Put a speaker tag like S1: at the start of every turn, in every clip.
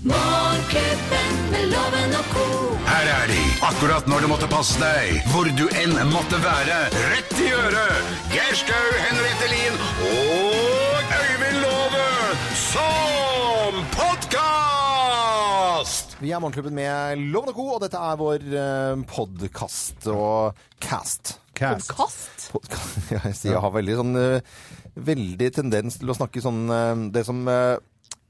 S1: Morgenklubben med loven og ko.
S2: Her er de, akkurat når du måtte passe deg, hvor du enn måtte være. Rett i øret! Geir Skau, Henriette Lien og Øyvind Låve som podkast!
S3: Vi er Morgenklubben med Loven og Co, og dette er vår eh, podkast og cast.
S4: Cast.
S5: Kast?
S3: Podka- Ja, jeg, sier, jeg har veldig, sånn, eh, veldig tendens til å snakke sånn eh, Det som eh,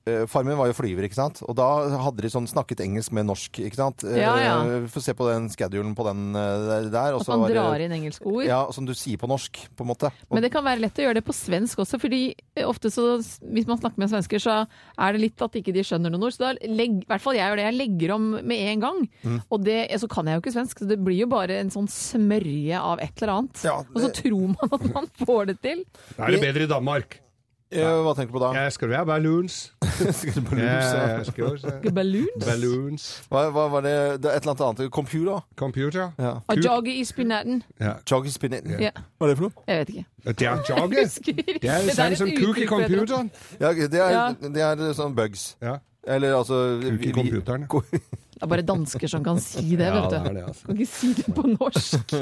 S3: eh, Far min var jo flyver, ikke sant? Og da hadde de sånn snakket engelsk med norsk, ikke sant? Eh,
S5: Ja, ja.
S3: Få se på den schedulen på den eh, der. og
S5: At
S3: så
S5: man
S3: var det-
S5: drar inn engelske ord.
S3: Ja, som du sier på norsk, på en måte. Og
S5: Men det kan være lett å gjøre det på svensk også, fordi ofte så, hvis man snakker med svensker, så er det litt at ikke de skjønner noen ord. Så da legg, i hvert fall jeg gjør det, jeg legger om med en gang.
S3: Mm.
S5: Og det, så kan jeg jo ikke svensk, så det blir jo bare en sånn smørje av et eller annet.
S3: Ja,
S5: Og så
S3: det-
S5: tror man at man får det til.
S4: Da er det bedre i Danmark.
S3: Eh, hva tenker du på da?
S4: Jeg skal være balloons.
S3: Skal du på
S4: Jeg,
S3: lus, ja?
S4: jeg skal også-
S5: Balloons.
S4: Balloons.
S3: Hva, hva var det? det er Et eller annet annet. Computer?
S4: Computer.
S3: Ja.
S5: A jog i spinaten.
S4: Ja.
S3: Joggy spinning.
S5: Ja,
S3: Hva er det for noe?
S5: jeg vet ikke.
S4: Det er jogge. Det er det samme
S5: et
S4: som
S3: sånn
S4: kuk i
S5: uttrykk for et eller
S4: computeren.
S3: Ja, det, er,
S5: Ja.
S3: det er sånn bugs.
S4: Ja.
S3: Eller altså
S4: Kuk i
S3: vi-
S4: computeren.
S5: annet. Det er bare dansker som kan si det, vet du.
S4: det er det, altså.
S5: Kan ikke si det på norsk.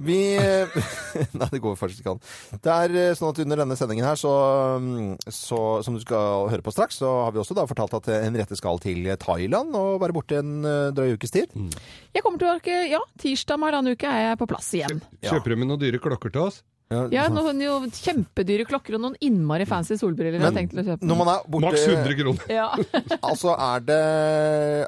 S3: Vi eh, Nei, det går faktisk ikke an. Det er eh, sånn at under denne sendingen her, så, mm, så Som du skal høre på straks, så har vi også da fortalt at Henriette skal til Thailand og være borte en eh, drøy ukes tid.
S5: Jeg kommer tilbake, ja, tirsdag om halvannen uke er jeg på plass igjen.
S4: Kjøper du med noen dyre klokker til oss?
S5: Ja, noen jo kjempedyre klokker og noen innmari fancy solbriller.
S3: Men
S5: jeg tenkte å kjøpe.
S3: Når man er
S4: Maks
S3: borte
S4: 100 kroner.
S5: Ja.
S3: Altså, er det,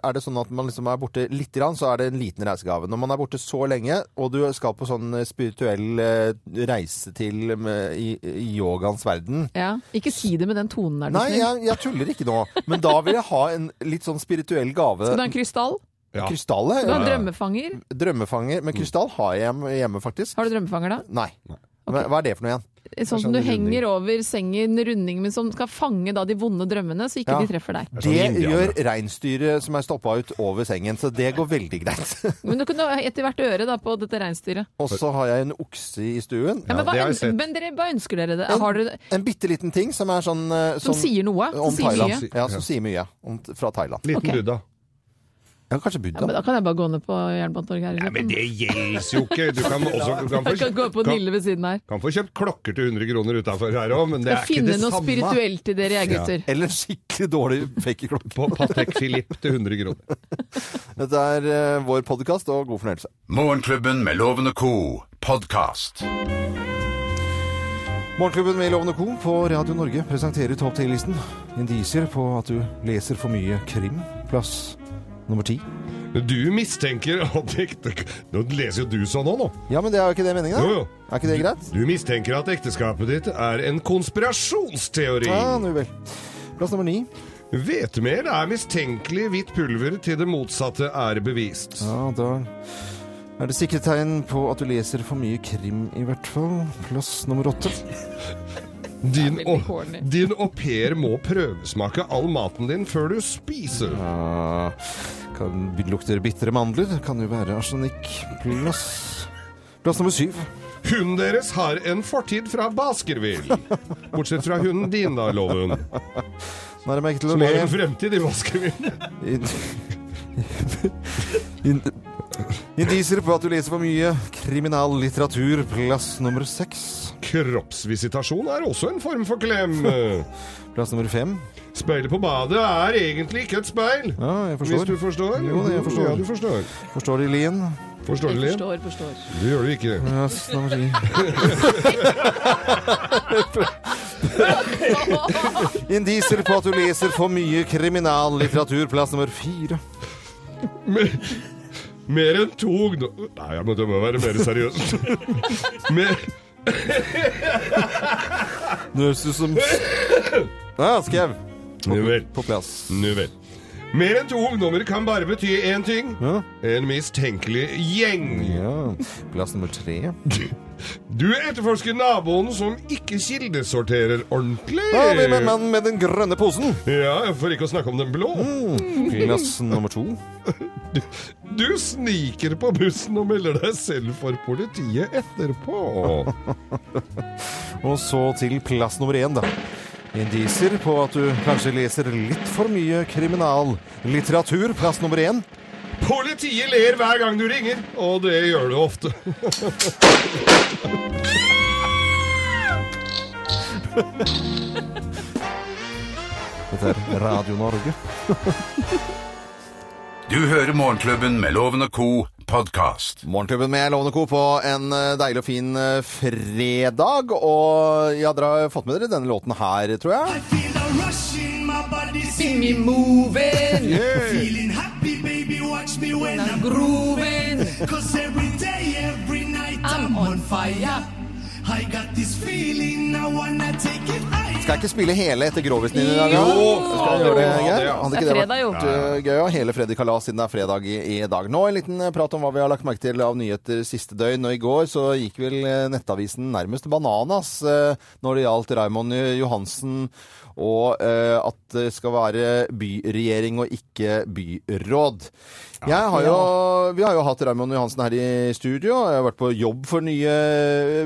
S3: er det sånn at man liksom er borte litt, grann, så er det en liten reisegave. Når man er borte så lenge, og du skal på sånn spirituell eh, reise til eh, i, i yogaens verden,
S5: ja. Ikke si det med den tonen der. du
S3: Nei,
S5: snill.
S3: jeg, jeg tuller ikke nå. Men da vil jeg ha en litt sånn spirituell gave.
S5: Skal du ha en krystall?
S4: Ja.
S3: Krystallet?
S5: Skal du
S3: Ja.
S5: ha en
S3: eh,
S5: drømmefanger?
S3: Drømmefanger. Men krystall har jeg hjem- hjemme, faktisk.
S5: Har du drømmefanger da?
S3: Nei. Men Hva er det for noe igjen?
S5: Sånn som du henger over sengen, runding, men som skal fange da de vonde drømmene, så ikke
S3: Ja.
S5: de treffer deg.
S4: sånn
S3: Det gjør
S4: indianer.
S3: reinsdyret som er stoppa ut over sengen, så det går veldig greit.
S5: Men du kunne ha etter hvert øre da på dette reinsdyret.
S3: Og så har jeg en okse i stuen.
S5: Ja, men,
S4: det
S5: hva,
S4: har jeg sett.
S5: men dere, hva ønsker dere det? Har dere
S3: En bitte liten ting som er sånn eh,
S5: som sier noe?
S3: om
S5: Som sier mye?
S3: Thailand. Ja, som sier mye. Om, fra Thailand.
S4: Liten
S5: Ok.
S4: Buddha.
S3: Ja, kanskje
S5: Ja, men
S3: Buddha.
S5: da kan jeg bare gå ned på Jernbanetorget her. i
S4: Nei,
S5: Kjøpen.
S4: men det gjelder jo ikke. Du kan, også, du kan,
S5: Jeg kan gå
S4: få,
S5: på
S4: kan,
S5: Nille ved siden her.
S4: kan få kjøpt klokker til 100 kroner utafor her òg, men det er
S5: Jeg
S4: ikke
S5: finne
S4: det
S5: noe
S4: samme.
S5: spirituelt til dere, jeg gutter.
S3: Eller en skikkelig dårlig fake-klokke.
S4: På Patek Philippe til 100 kroner.
S3: Dette er eh, vår podkast, og god fornøyelse.
S2: Morgenklubben med Loven og Co. podkast.
S3: Morgenklubben med Lovende Co. på Radio Norge presenterer topp 10-listen. Indisier på at du leser for mye krim. Plass nummer ti.
S4: Du mistenker at ekte... Nå leser jo du sånn òg, nå.
S3: Ja, men det er jo ikke det meningen, da.
S4: Jo, jo.
S3: Er ikke det greit?
S4: Du mistenker at ekteskapet ditt er en konspirasjonsteori.
S3: Ja, nå vel. Plass nummer ni.
S4: Hvetemel er mistenkelig hvitt pulver til det motsatte er bevist.
S3: Ja, da er det sikre tegn på at du leser for mye krim, i hvert fall. Plass nummer åtte.
S4: Din,
S5: Det er
S4: au-
S5: veldig corny.
S4: din au pair må prøvesmake all maten din før du spiser.
S3: Ja, kan, lukter bitre mandler. Kan jo være arsenikk. Plass Plass nummer syv.
S4: Hunden deres har en fortid fra Baskerville. Bortsett fra hunden din, da, Loven.
S3: Nå er det merke til å
S4: Som har
S3: le
S4: en fremtid i Baskerville.
S3: In- In- Indisier på at du leser for mye kriminal litteratur, plass nummer seks.
S4: Kroppsvisitasjon er også en form for klem.
S3: Plass nummer fem.
S4: Speilet på badet er egentlig ikke et speil.
S3: Ja, jeg
S4: Hvis du
S3: forstår.
S4: forstår?
S3: Jo, det jeg forstår.
S4: Ja, du forstår.
S3: Forstår de lien?
S4: Forstår du, Lien?
S5: Forstår, forstår.
S4: Du gjør det ikke.
S3: Plass nummer ti. Indisier på at du leser for mye kriminal litteratur, plass nummer fire.
S4: Mer, mer enn to ungdom... Nei, jeg må, jeg må være mer seriøs. mer,
S3: Det høres ut som Ja, skrev.
S4: nu vel,
S3: På plass.
S4: nu vel. Mer enn to ungdommer kan bare bety én ting.
S3: Ja.
S4: En mistenkelig gjeng.
S3: ja. Plass nummer tre.
S4: Du etterforsker naboen som ikke kildesorterer ordentlig.
S3: Da har vi med mannen med den grønne posen.
S4: Ja, For ikke å snakke om den blå.
S3: Plass nummer to.
S4: Du sniker på bussen og melder deg selv for politiet etterpå.
S3: Og så til plass nummer én, da. Indiser på at du kanskje leser litt for mye kriminallitteratur. Plass nummer én.
S4: Politiet ler hver gang du ringer, og det gjør du ofte.
S3: Dette er Radio Norge.
S2: Du hører Morgenklubben med Loven og Co. podkast.
S3: Morgenklubben med Lovende Co. på en eh, deilig og fin eh, fredag. Og ja, dere har fått med dere denne låten her, tror jeg.
S6: Feel a rush in my body, see me
S7: moving,
S6: feeling happy, baby. Watch me when I'm
S7: grooving.
S6: Cause every day, every night, I'm,
S7: I'm
S6: on
S7: on fire.
S6: I got this feeling, I wanna take it higher.
S3: Skal jeg ikke spille hele etter Grovisen din i dag? da?
S4: Jo,
S3: Skal jeg
S4: fader,
S3: gjøre det,
S4: ja,
S3: Geir?
S4: det, ja.
S3: Hadde
S5: Det
S3: ikke
S5: er
S3: det
S5: fredag, jo.
S3: vært øh, gøy å ha hele fredag kalas siden det er fredag i, i dag? Nå en liten øh, prat om hva vi har lagt merke til av nyheter siste døgn. Og i går så gikk vel øh, nettavisen nærmest bananas øh, når det gjaldt Raymond Johansen og øh, at det skal være byregjering og ikke byråd. Jeg har jo, vi har jo hatt Raymond Johansen her i studio. Jeg har vært på jobb for nye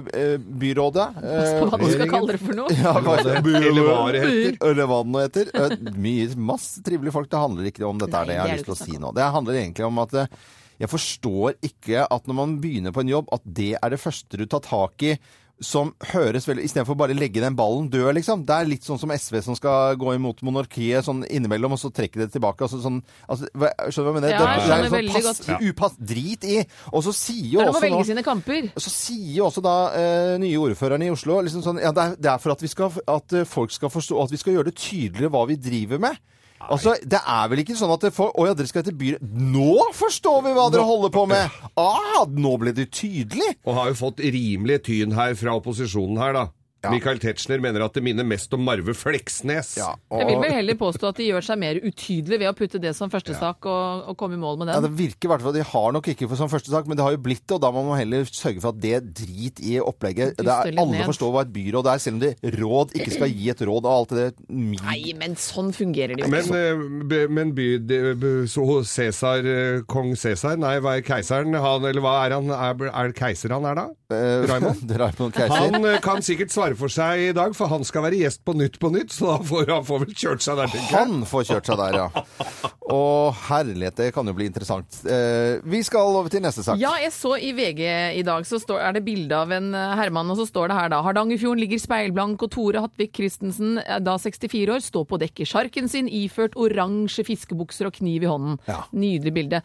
S3: øh, byrådet.
S5: Pass på hva du skal
S3: regjeringen.
S5: kalle det for noe.
S3: Ja, hva er det?
S4: Eller hva det heter.
S3: Eller hva det nå heter. Eh, Mye, masse trivelige folk. Det handler ikke om dette, er det jeg
S5: Nei,
S3: har
S5: det
S3: lyst
S5: er
S3: til å
S5: det
S3: si
S5: ikke
S3: nå. Det handler egentlig om at eh, jeg forstår ikke at når man begynner på en jobb, at det er det første du tar tak i. Som høres veldig Istedenfor bare legge den ballen død, liksom. Det er litt sånn som SV som skal gå imot monarkiet sånn innimellom, og så trekke det tilbake. Altså, sånn, altså, hva- skjønner du hva jeg mener?
S5: Ja,
S3: Det- det
S5: jeg
S3: er
S5: skjønner
S3: sånn
S5: veldig
S3: pass, Upass drit i! Og så sier jo
S5: Det er lov å
S3: også nå
S5: velge sine kamper.
S3: så sier jo også da eh, nye ordføreren i Oslo liksom sånn, ja, det er, det er for at, vi skal, at eh, folk skal forstå at vi skal gjøre det tydeligere hva vi driver med. Altså, Det er vel ikke sånn at det får, Å ja, dere skal til byret Nå forstår vi hva dere holder på med! Ah, nå ble det tydelig!
S4: Og har jo fått rimelig tyn her fra opposisjonen her, da. Michael Tetzschner mener at det minner mest om Marve Fleksnes.
S5: Jeg vil vel heller påstå at de gjør seg mer utydelige ved å putte det som første sak og, og komme i mål med
S3: Ja,
S5: den.
S3: det virker i hvert fall De har nok ikke for som første sak, men det har jo blitt det. Og da må man heller sørge for at det drit i opplegget.
S5: Dyster
S3: Det er,
S5: litt
S3: alle
S5: ned.
S3: forstår hva et byråd er, selv om det råd ikke skal gi et råd og alt det
S5: Nei, men sånn fungerer det jo
S4: Men,
S5: ikke.
S4: eh, b- men by, de, b- så Cæsar, eh, kong Cæsar, nei, hva er keiseren? Han, eller hva er han? Er, er det keiser han er da? Raymond?
S3: Det er Raymond Keiser.
S4: Han eh, kan sikkert svare for seg i dag, for han skal være gjest på Nytt på Nytt, så da får han får vel kjørt seg der, tenker jeg.
S3: Han får kjørt seg der, ja. Og herlighet, det kan jo bli interessant. Eh, vi skal over til neste sak.
S5: Ja, jeg så i VG i dag, så står, er det bilde av en eh, herremann, og så står det her da Hardangerfjorden ligger speilblank, og Tore Hattvik Christensen, eh, da 64 år, står på dekk i sjarken sin iført oransje fiskebukser og kniv i hånden.
S3: Ja.
S5: Nydelig bilde.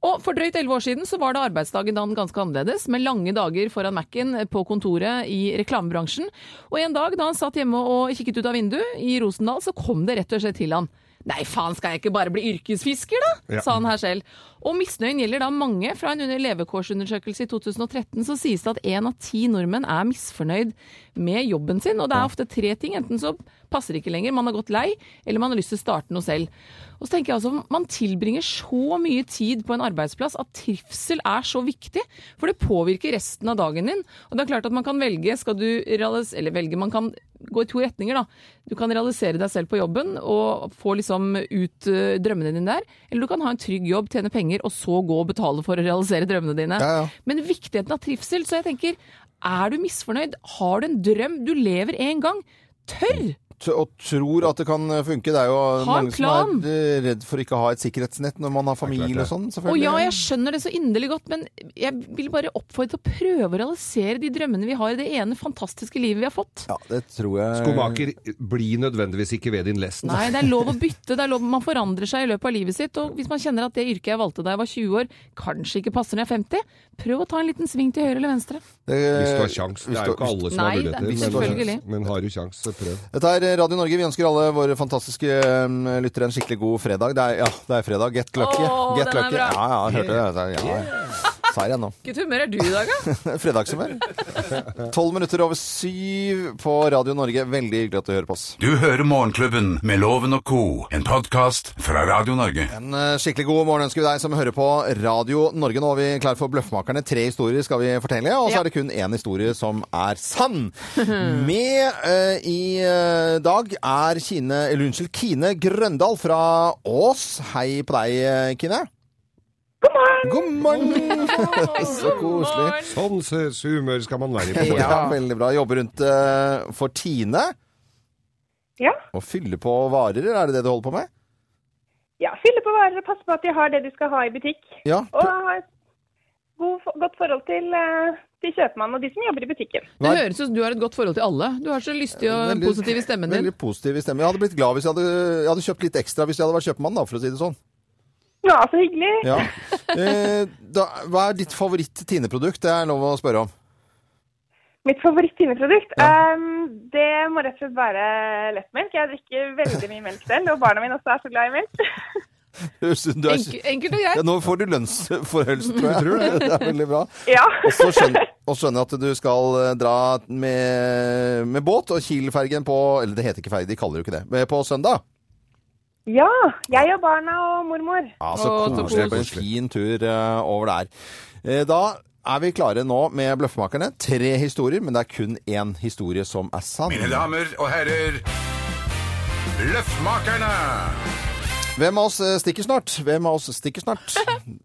S5: Og for drøyt elleve år siden så var det arbeidsdagen da han ganske annerledes, med lange dager foran Mac-en på kontoret i reklamebransjen. Og en dag da han satt hjemme og kikket ut av vinduet i Rosendal, så kom det rett og slett til han. Nei, faen skal jeg ikke bare bli yrkesfisker, da?
S4: Ja.
S5: sa han her selv. Og misnøyen gjelder da mange. Fra en under- levekårsundersøkelse i 2013 så sies det at én av ti nordmenn er misfornøyd med jobben sin. Og det er ofte tre ting. Enten så passer det ikke lenger, man har gått lei, eller man har lyst til å starte noe selv. Og så tenker jeg altså, Man tilbringer så mye tid på en arbeidsplass at trivsel er så viktig. For det påvirker resten av dagen din. Og det er klart at man kan velge, skal du realis- eller velge, man kan gå i to retninger, da. Du kan realisere deg selv på jobben og få liksom ut eh, drømmene dine der. Eller du kan ha en trygg jobb, tjene penger, og så gå og betale for å realisere drømmene dine.
S3: Ja, ja.
S5: Men viktigheten av trivsel, så jeg tenker, er du misfornøyd, har du en drøm, du lever en gang, tørr!
S3: T- Og tror at det kan funke. Det er jo
S5: en
S3: mange som
S5: plan.
S3: er eh, redd for ikke å ha et sikkerhetsnett når man har familie og sånn,
S5: Og
S3: selvfølgelig.
S5: ja, jeg skjønner det så inderlig godt, men jeg vil bare oppfordre til å prøve å realisere de drømmene vi har i det ene fantastiske livet vi har fått.
S3: Ja, det tror jeg
S4: Skomaker, eh, bli nødvendigvis ikke ved din lest.
S5: Nei, det er lov å bytte. Det er lov, man forandrer seg i løpet av livet sitt. Og hvis man kjenner at det yrket jeg valgte da jeg var 20 år, kanskje ikke passer når jeg er 50, prøv å ta en liten sving til høyre eller venstre.
S3: Det-
S4: Hvis du har sjans. Det
S3: hvis
S4: er
S3: du-
S4: jo ikke alle som
S5: Nei,
S4: har
S5: det-
S4: muligheter. men-
S5: selvfølgelig.
S4: Men har du sjans, så prøv.
S3: Dette er Radio Norge. Vi ønsker alle våre fantastiske um, lyttere en skikkelig god fredag. Det er, ja, det er fredag. Get lucky.
S5: Åh,
S3: Get
S5: den er
S3: lucky.
S5: bra.
S3: Ja, ja, hørte det. Ja, ja. Sa jeg nå.
S5: Hvilket humør er du i dag, da?
S3: Fredagshumør. Tolv minutter over syv på Radio Norge. Veldig hyggelig at du hører på oss.
S2: Du hører Morgenklubben med Loven og Co., en podkast fra Radio Norge.
S3: En eh, skikkelig god morgen ønsker vi deg som hører på Radio Norge. Nå er vi klar for Bløffmakerne. Tre historier skal vi fortelle, og så
S5: Ja.
S3: er det kun én historie som er sann. Med eh, i eh, dag er Kine, eller unnskyld, Kine Grøndal fra Ås. Hei på deg, eh, Kine. God morgen! så koselig.
S4: Sånn s- humør skal man være i på morgenen.
S3: Ja, veldig bra. Jobber rundt eh, for Tine.
S8: Ja.
S3: Å fylle på varer, er det det du holder på med?
S8: ja. Fylle på varer og passe på at de har det de skal ha i butikk.
S3: Ja.
S8: Og ha et god, godt forhold til, eh, til kjøpmannen og de som jobber i butikken.
S5: Det
S3: Nei.
S5: høres ut som du har et godt forhold til alle. Du har så lystig og
S3: Veldig-
S5: positiv i stemmen din.
S3: Veldig positiv i stemmen. Jeg hadde blitt glad hvis jeg hadde, jeg hadde kjøpt litt ekstra hvis jeg hadde vært kjøpmann, da, for å si det sånn.
S8: Ja, så hyggelig.
S3: Ja. Eh, da, hva er ditt favoritt-Tine-produkt? Det er lov å spørre om.
S8: Mitt favoritt-tineprodukt? det må rett og slett være lettmelk. Jeg drikker veldig mye melk selv, og barna mine også er så glad i melk.
S3: Høres ut som Du er,
S5: Enk, enkelt og
S3: ja,
S5: greit.
S3: nå får du lønnsforhøyelse, tror jeg. Det er veldig bra.
S8: ja.
S3: Og så skjønner, og skjønner jeg at du skal eh, dra med, med båt og Kiel-fergen på Eller det heter ikke ferge, de kaller det jo ikke det. men På søndag.
S8: ja. Jeg og barna og mormor.
S3: Ja, så
S5: Å,
S3: koselig.
S5: så
S3: Det blir en
S4: koselig.
S3: fin tur eh, over der. Eh, Da er vi klare nå med Bløffmakerne. Tre historier, men det er kun én historie som er sann.
S2: Mine damer og herrer, Løffmakerne!
S3: Hvem av oss eh, stikker snart? Hvem av oss stikker snart?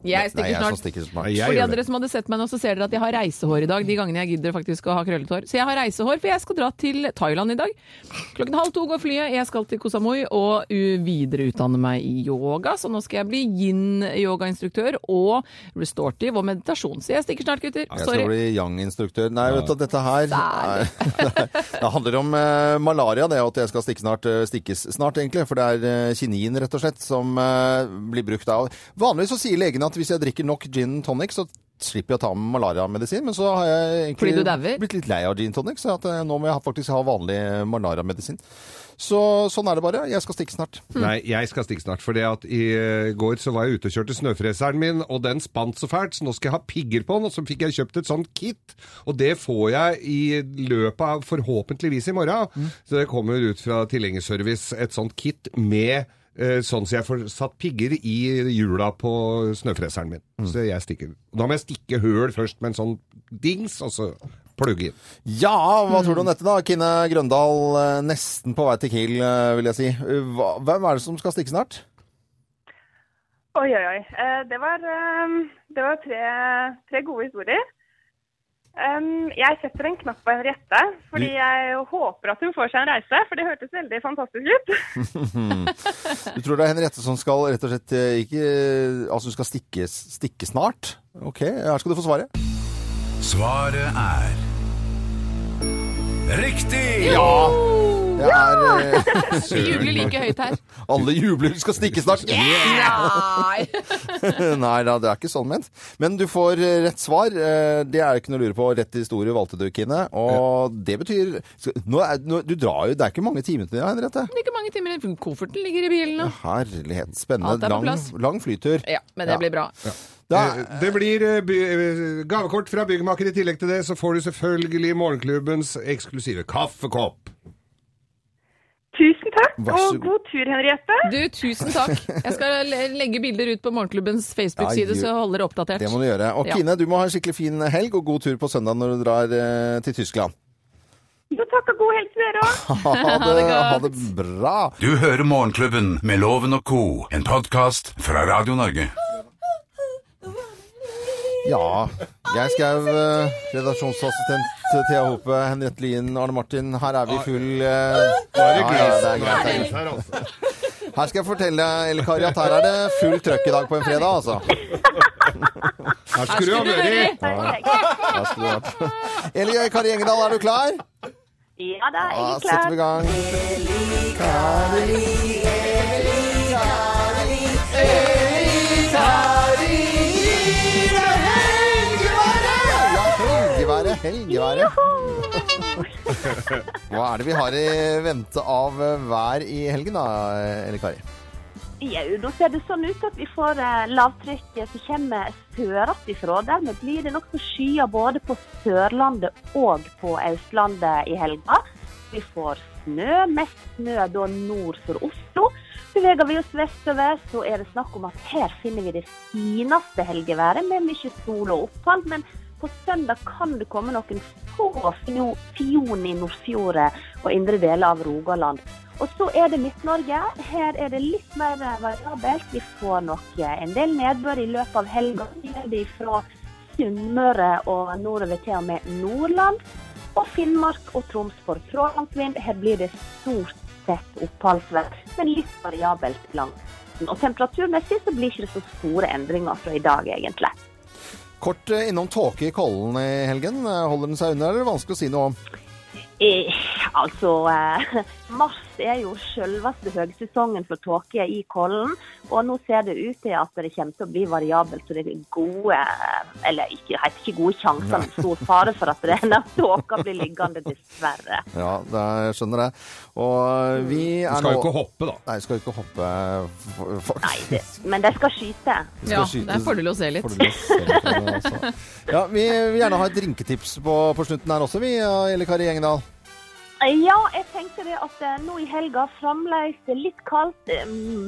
S5: Jeg
S3: Nei,
S5: stikker
S3: jeg som
S5: snart.
S3: stikker snart.
S4: Nei, jeg-
S5: For de
S4: gjør
S5: av dere som hadde sett meg nå, så ser dere at jeg har reisehår i dag. De gangene jeg gidder faktisk å ha krøllet hår. Så jeg har reisehår, for jeg skal dra til Thailand i dag. Klokken halv to går flyet. Jeg skal til Koh Samui og uh, videreutdanne meg i yoga. Så nå skal jeg bli yin-yogainstruktør og restorative og meditasjon. Så jeg stikker snart, gutter.
S3: Jeg skal
S5: Sorry.
S3: bli young-instruktør. Nei, vet du, at dette her Nei. Det handler om eh, malaria, det, og at jeg skal stikke snart, eh, stikkes snart, egentlig. For det er eh, kinin, rett og slett, som eh, blir brukt av Vanligvis så sier legene at hvis jeg drikker nok gin tonic, så slipper jeg å ta med malariamedisin. Men så har jeg
S5: Fordi du
S3: egentlig
S5: dauer?
S3: blitt litt lei av gin tonic, så at, eh, nå må jeg faktisk ha vanlig malariamedisin. Så sånn er det bare. Jeg skal stikke snart.
S4: Nei, jeg skal stikke snart. For det at i eh, går så var jeg ute og kjørte snøfreseren min, og den spant så fælt, så nå skal jeg ha pigger på den. Og så fikk jeg kjøpt et sånt kit, og det får jeg i løpet av forhåpentligvis i morgen. Så det kommer ut fra tilhengerservice et sånt kit med eh, Sånn så jeg får satt pigger i hjula på snøfreseren min. Så jeg stikker. Da må jeg stikke høl først med en sånn dings, og så plugge inn.
S3: Ja, hva tror du
S5: Mm.
S3: om dette da? Kine Grøndal, eh, nesten på vei til Kiel, eh, vil jeg si. Hva, hvem er det som skal stikke snart?
S8: Oi, oi, oi. Eh, Det var, eh, det var tre, tre gode historier. Em, jeg setter en knapp på Henriette, fordi jeg håper at hun får seg en reise. For det hørtes veldig fantastisk ut.
S3: Du tror det er Henriette som skal rett og slett eh, ikke Altså hun skal stikke, stikke snart? Ok, her skal du få svaret.
S2: Svaret er Riktig!
S3: Det er, eh,
S5: Vi jubler like høyt her.
S3: alle jubler, hun skal stikke snart!
S5: Nei!
S3: Nei da, det er ikke sånn ment. Men du får eh, rett svar. Eh, Det er ikke noe å lure på. Rett historie valgte du, Kine. Og det betyr skal- nå er, nå, Du drar jo Det er ikke mange timene til deg, Henriette.
S5: Det er ikke mange timer igjen. Kofferten ligger i bilen nå.
S3: Herlighet.
S5: Alt
S3: Spennende.
S5: er på
S3: Lang,
S5: plass.
S3: lang flytur.
S5: Ja, men det blir bra.
S3: Da-
S4: Eh, Det blir eh, by, eh, gavekort fra byggmaker. I tillegg til det så får du selvfølgelig Morgenklubbens eksklusive kaffekopp.
S8: Tusen takk,
S3: Vær så
S8: og
S3: god.
S8: god tur, Henriette.
S5: Du, tusen takk. Jeg skal le- legge bilder ut på Morgenklubbens
S3: Ja,
S5: Facebook-side,
S3: gjør-
S5: så jeg holder dere oppdatert.
S3: Det må du gjøre. Og
S5: Ja.
S3: Kine, du må ha en skikkelig fin helg og god tur på søndag når du drar eh, til Tyskland.
S8: Jo, takk og god helg til dere òg.
S3: Ha det, ha det
S5: godt.
S3: bra.
S2: Du hører Morgenklubben med Loven og Co., en podkast fra Radio Norge.
S3: Ja. Jeg skrev eh, redaksjonsassistent Thea Hope, Henriette Lien, Arne Martin. Her er vi i full eh, ja, ja, det er greit, det er greit.
S4: altså.
S3: Her skal jeg fortelle deg, Elle Kari, at her er det full trøkk i dag på en fredag, altså.
S4: Her skulle du ha vært!
S3: Her skulle det vært. Elle Kari Engedal, er du klar?
S8: Ja da,
S3: Da
S8: jeg er
S3: setter vi
S8: klar.
S3: i gang. Ja, helgeværet, helgeværet. Hva er det vi har i vente av eh, vær i helgen da, Elle Kari?
S9: Jau, da ser det sånn ut at vi får eh, lavtrykket som kommer søratifra. Dermed blir det nokså skyer både på Sørlandet og på Østlandet i helga. Vi får snø, mest snø da nord for Oslo. Beveger vi oss vestover, så er det snakk om at her finner vi det fineste helgeværet med mye sol og opphold. Men på søndag kan det komme noen få fjo- fjon i Nordfjordet og indre deler av Rogaland. Og så er det Midt-Norge. Her er det litt mer variabelt. Vi får nok eh, en del nedbør i løpet av helga. Vi er det fra Sunnmøre og nordover til og med Nordland. Og Finnmark og Troms får fra landvind. Her blir det stort sett oppholdsvær, men litt variabelt langs kysten. Og temperaturmessig så blir ikke det så store endringer fra i dag, egentlig.
S3: Kort eh, innom tåke i Kollen i helgen. Eh, Holder den seg unna, eller er det vanskelig å si noe om?
S9: Eh, altså, eh, mars er jo selveste høgsesongen for tåke i Kollen. Og nå ser det ut til at det kommer til å bli variabelt, så det er gode Eller ikke, helt ikke gode sjanser, men stor fare for at denne tåka blir liggende, dessverre.
S3: Ja, det er, jeg skjønner det. Og vi er
S4: Du skal jo
S3: nå-
S4: ikke hoppe, da.
S3: Nei, vi skal jo ikke hoppe, f- faktisk.
S9: Nei, det, men de skal skyte.
S3: Vi skal
S5: Ja,
S3: skyte-
S5: det er fordel å se litt.
S3: fordel å se litt på det, altså. Ja, vi vil gjerne ha et drinketips på, på slutten her også, vi, eh, Eli Kari Engedal.
S9: Ja, jeg tenkte det at eh, nå i helga fremdeles det er litt kaldt. Eh,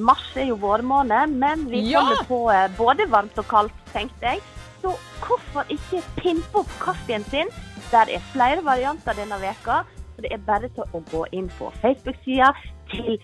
S9: Mars er jo vårmåned, men vi
S5: Ja!
S9: holder på eh, både varmt og kaldt, tenkte jeg. Så hvorfor ikke pimpe opp kaffen sin? Der er flere varianter denne veka, så det er bare til å gå inn på Facebook-sida til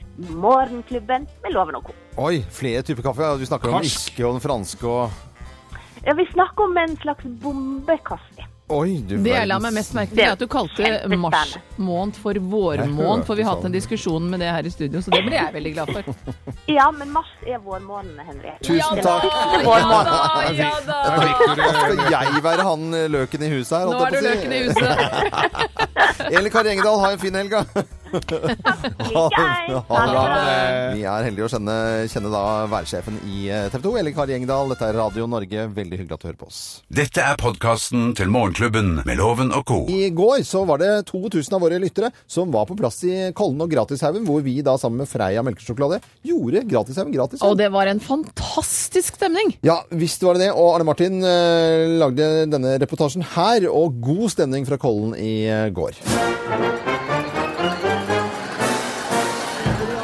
S9: Morgenklubben med Loven og Co.
S3: Oi, flere typer kaffe. ja. Du snakker om
S4: Karsk.
S3: irske og den franske og
S9: Ja, vi snakker om en slags bombekaffe.
S3: Oi, du
S5: Det jeg la
S3: verdens-
S5: meg mest merke til, er at du kalte mars måned for vårmåned, for vi har hatt en diskusjon med det her i studio, så det ble jeg veldig glad for.
S9: Ja, men mars er vårmåneden, Henriette.
S3: Tusen takk.
S5: Ja da, ja da!
S3: Skal jeg være han eh, løken i huset her?
S5: Nå er du løken i huset.
S3: huset. Eli Kari Engedal, ha en fin helg, da.
S9: Like,
S3: Ha det bra.
S9: Ha det.
S3: Vi er heldige å kjenne, kjenne da værsjefen i TV 2, Eli Kari Engedal. Dette er Radio Norge. Veldig hyggelig at du hører på oss.
S2: Dette er podkasten til Morgenklubben med Loven og co.
S3: I går så var det 2000 av våre lyttere som var på plass i Kollen og Gratishaugen, hvor vi da sammen med Freia melkesjokolade gjorde Gratishaugen gratis.
S5: Og det var en fantastisk stemning!
S3: Ja, visst var det det. Og Arne Martin eh, lagde denne reportasjen her, og god stemning fra Kollen i eh, går.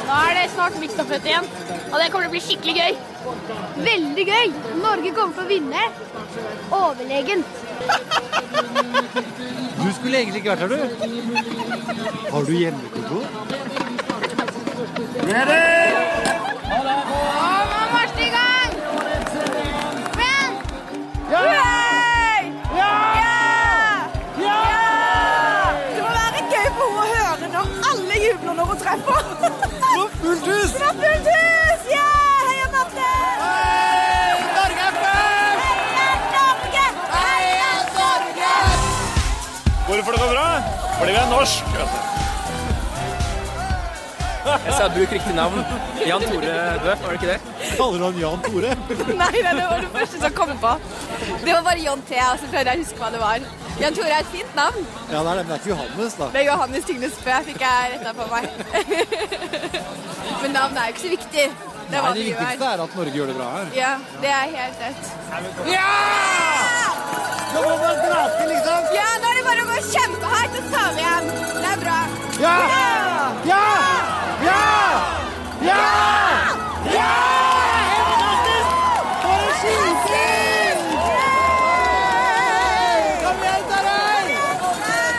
S10: Da er det snart Mixed-opp-møte igjen, og det kommer til å bli skikkelig gøy. Veldig gøy! Norge kommer til å vinne. Overlegent.
S11: Du skulle egentlig ikke vært her, du. Har du hjemmekontor?
S10: Marsj i gang! Vent!
S12: Det må være gøy for henne å høre når alle jubler når hun treffer. Det var fullt hus! Det var fullt hus! Ja! Heia Marte! Norge er først! Heia Norge! Heia Norge!
S13: Hvorfor det går bra? Fordi vi er norsk. Jeg sa bruk riktig navn. Jan Tore Bø, var det ikke det?
S11: Kaller han Jan Tore?
S12: Nei, nei, det var det første som kom på. Det var bare Jan T, og så prøvde jeg å huske hva det var. Jan Tore er et fint navn.
S11: Ja, det er det, men det er ikke Johannes, da.
S12: Det er Johannes Tygnes Bø, fikk jeg retta på meg. Men navnet er jo ikke så viktig.
S11: Nei,
S12: Det er hva
S11: det
S12: vi gjør.
S11: viktigste er at Norge gjør det bra her.
S12: Ja, det er helt rett.
S11: Ja! Nå må man prate, liksom.
S12: Ja, da er det bare å gå kjempehardt, og så tar vi igjen. Det er bra.
S11: Ja! Ja! Ja! Ja! Ja! Helt fantastisk! For en skiting! Kom igjen, Tarjei!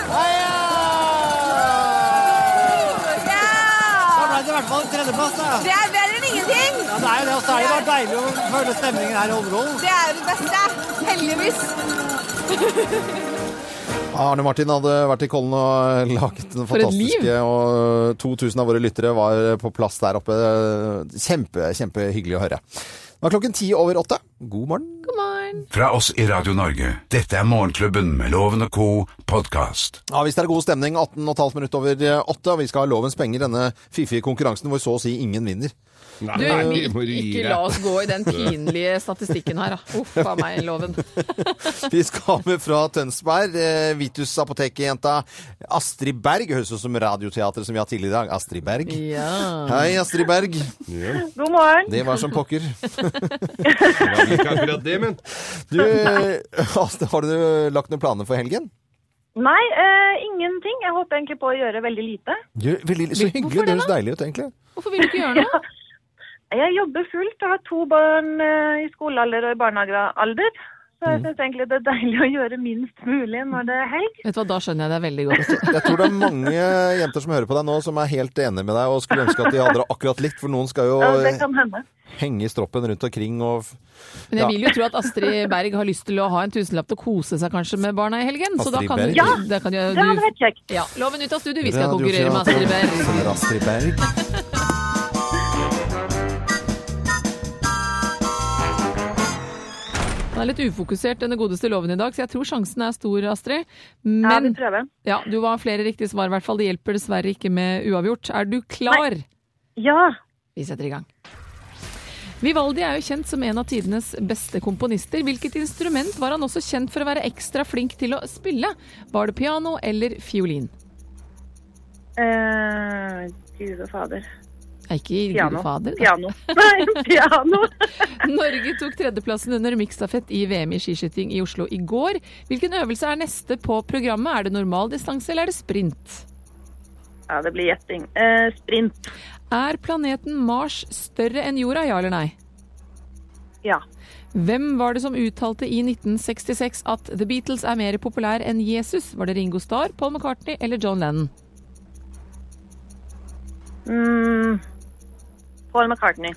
S11: Heia! Da ble Sånn det i hvert fall en tredjeplass, da.
S12: Det er bedre enn ingenting.
S11: Ja, det er jo det. Og så er det bare deilig å føle stemningen her i Holmenkollen.
S12: Det er det beste. Heldigvis.
S3: Arne Martin hadde vært i Kollen og laget den
S5: For et
S3: fantastiske, og 2000 av våre lyttere var på plass der oppe. Kjempe, kjempehyggelig å høre. Det var klokken ti over åtte. God morgen.
S5: God morgen.
S2: Fra oss i Radio Norge, dette er Morgenklubben med Loven og co. podkast.
S3: Ja, Hvis det er god stemning, 18 15 minutter over åtte, og vi skal ha lovens penger, denne fiffige konkurransen hvor så å si ingen vinner.
S4: Nei,
S5: Du,
S4: nei,
S5: vi-
S4: vi må gi
S5: ikke
S4: deg.
S5: la oss gå i den pinlige statistikken her, da. Uff a meg, loven.
S3: Vi skal med fra Tønsberg. eh, Vitus apotekjenta Astrid Berg. Høres ut som Radioteatret som vi har tidligere i dag. Astrid Berg.
S5: Ja.
S3: Hei, Astrid Berg.
S8: God morgen.
S3: Det var som pokker.
S4: Det var ikke akkurat det, men.
S3: Du, eh, Astrid, har du lagt noen planer for helgen?
S8: Nei, eh, ingenting. Jeg holdt egentlig på å gjøre veldig lite.
S3: veldig, så hyggelig. Det høres deilig ut, egentlig.
S5: Hvorfor vil du ikke gjøre noe?
S8: Jeg jobber fullt og har to barn eh, i skolealder og i barnehagealder.
S9: Så jeg syns egentlig det er deilig å gjøre minst mulig når det er helg.
S5: Vet du hva, da skjønner jeg deg veldig godt.
S3: Jeg tror det er mange jenter som hører på deg nå som er helt enig med deg og skulle ønske at de hadde det akkurat likt, for noen skal jo
S9: Ja, det kan hende.
S3: henge i stroppen rundt omkring og
S5: Men jeg
S3: Ja.
S5: vil jo tro at Astrid Berg har lyst til å ha en tusenlapp til å kose seg kanskje med barna i helgen. så da
S3: Astrid
S5: kan
S3: Berg?
S5: Du,
S3: Ja,
S5: da kan jo,
S3: det
S5: du,
S3: hadde vært
S5: kjekt. Ja, loven ut av studio, vi skal konkurrere med Astrid Berg.
S3: Med Astrid Berg.
S5: Han er litt ufokusert, denne godeste loven i dag, så jeg tror sjansen er stor, Astrid. Men, ja, vi
S9: prøver.
S5: du var flere riktige svar, i hvert fall. Det hjelper dessverre ikke med uavgjort. Er du klar?
S9: Ja.
S5: Vi setter i gang. Vivaldi er jo kjent som en av tidenes beste komponister. Hvilket instrument var han også kjent for å være ekstra flink til å spille? Var det piano eller fiolin?
S9: Eh, Gud og fader.
S5: Nei, Ikke i
S9: Piano.
S5: Gud fader. da.
S9: Piano. Nei, piano.
S5: Norge tok tredjeplassen under miksstafett i VM i skiskyting i Oslo i går. Hvilken øvelse er neste på programmet? Er det normal distanse eller er det sprint?
S9: Ja, det blir gjetting. Eh, sprint.
S5: Er planeten Mars større enn jorda, ja eller nei?
S9: Ja.
S5: Hvem var det som uttalte i 1966 at The Beatles er mer populær enn Jesus? Var det Ringo Starr, Paul McCartney eller John Lennon?
S9: Mm, Paul McCartney.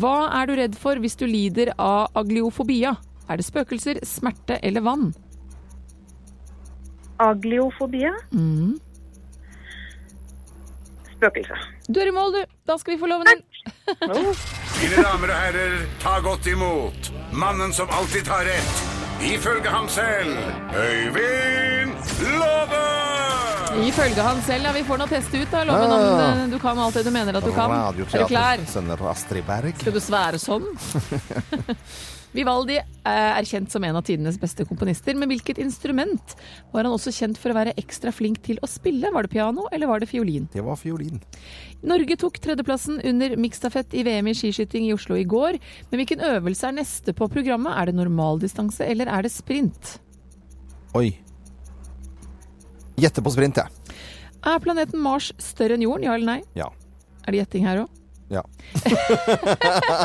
S5: Hva er du redd for hvis du lider av agliofobia? Er det spøkelser, smerte eller vann?
S9: Agliofobia.
S5: Mhm.
S9: Spøkelse.
S5: Du er i mål, du! Da skal vi få loven din.
S2: Mine damer og herrer, ta godt imot mannen som alltid tar rett, ifølge ham selv, Øyvind Låve!
S5: Ifølge han selv, ja. Vi får nå teste ut, da. Loven om
S3: Ja.
S5: eh, du kan alt det du mener at du kan. Er du klar?
S3: Radioteater sender Astrid Berg.
S5: Skal du svære sånn? Vivaldi eh, er kjent som en av tidenes beste komponister, men hvilket instrument var han også kjent for å være ekstra flink til å spille? Var det piano, eller var det fiolin?
S3: Det var fiolin.
S5: Norge tok tredjeplassen under miksstafett i VM i skiskyting i Oslo i går, men hvilken øvelse er neste på programmet? Er det normaldistanse, eller er det sprint?
S3: Oi. Gjette på sprint, jeg.
S5: Er planeten Mars større enn jorden, ja eller nei?
S3: Ja.
S5: Er det gjetting her òg?
S3: Ja.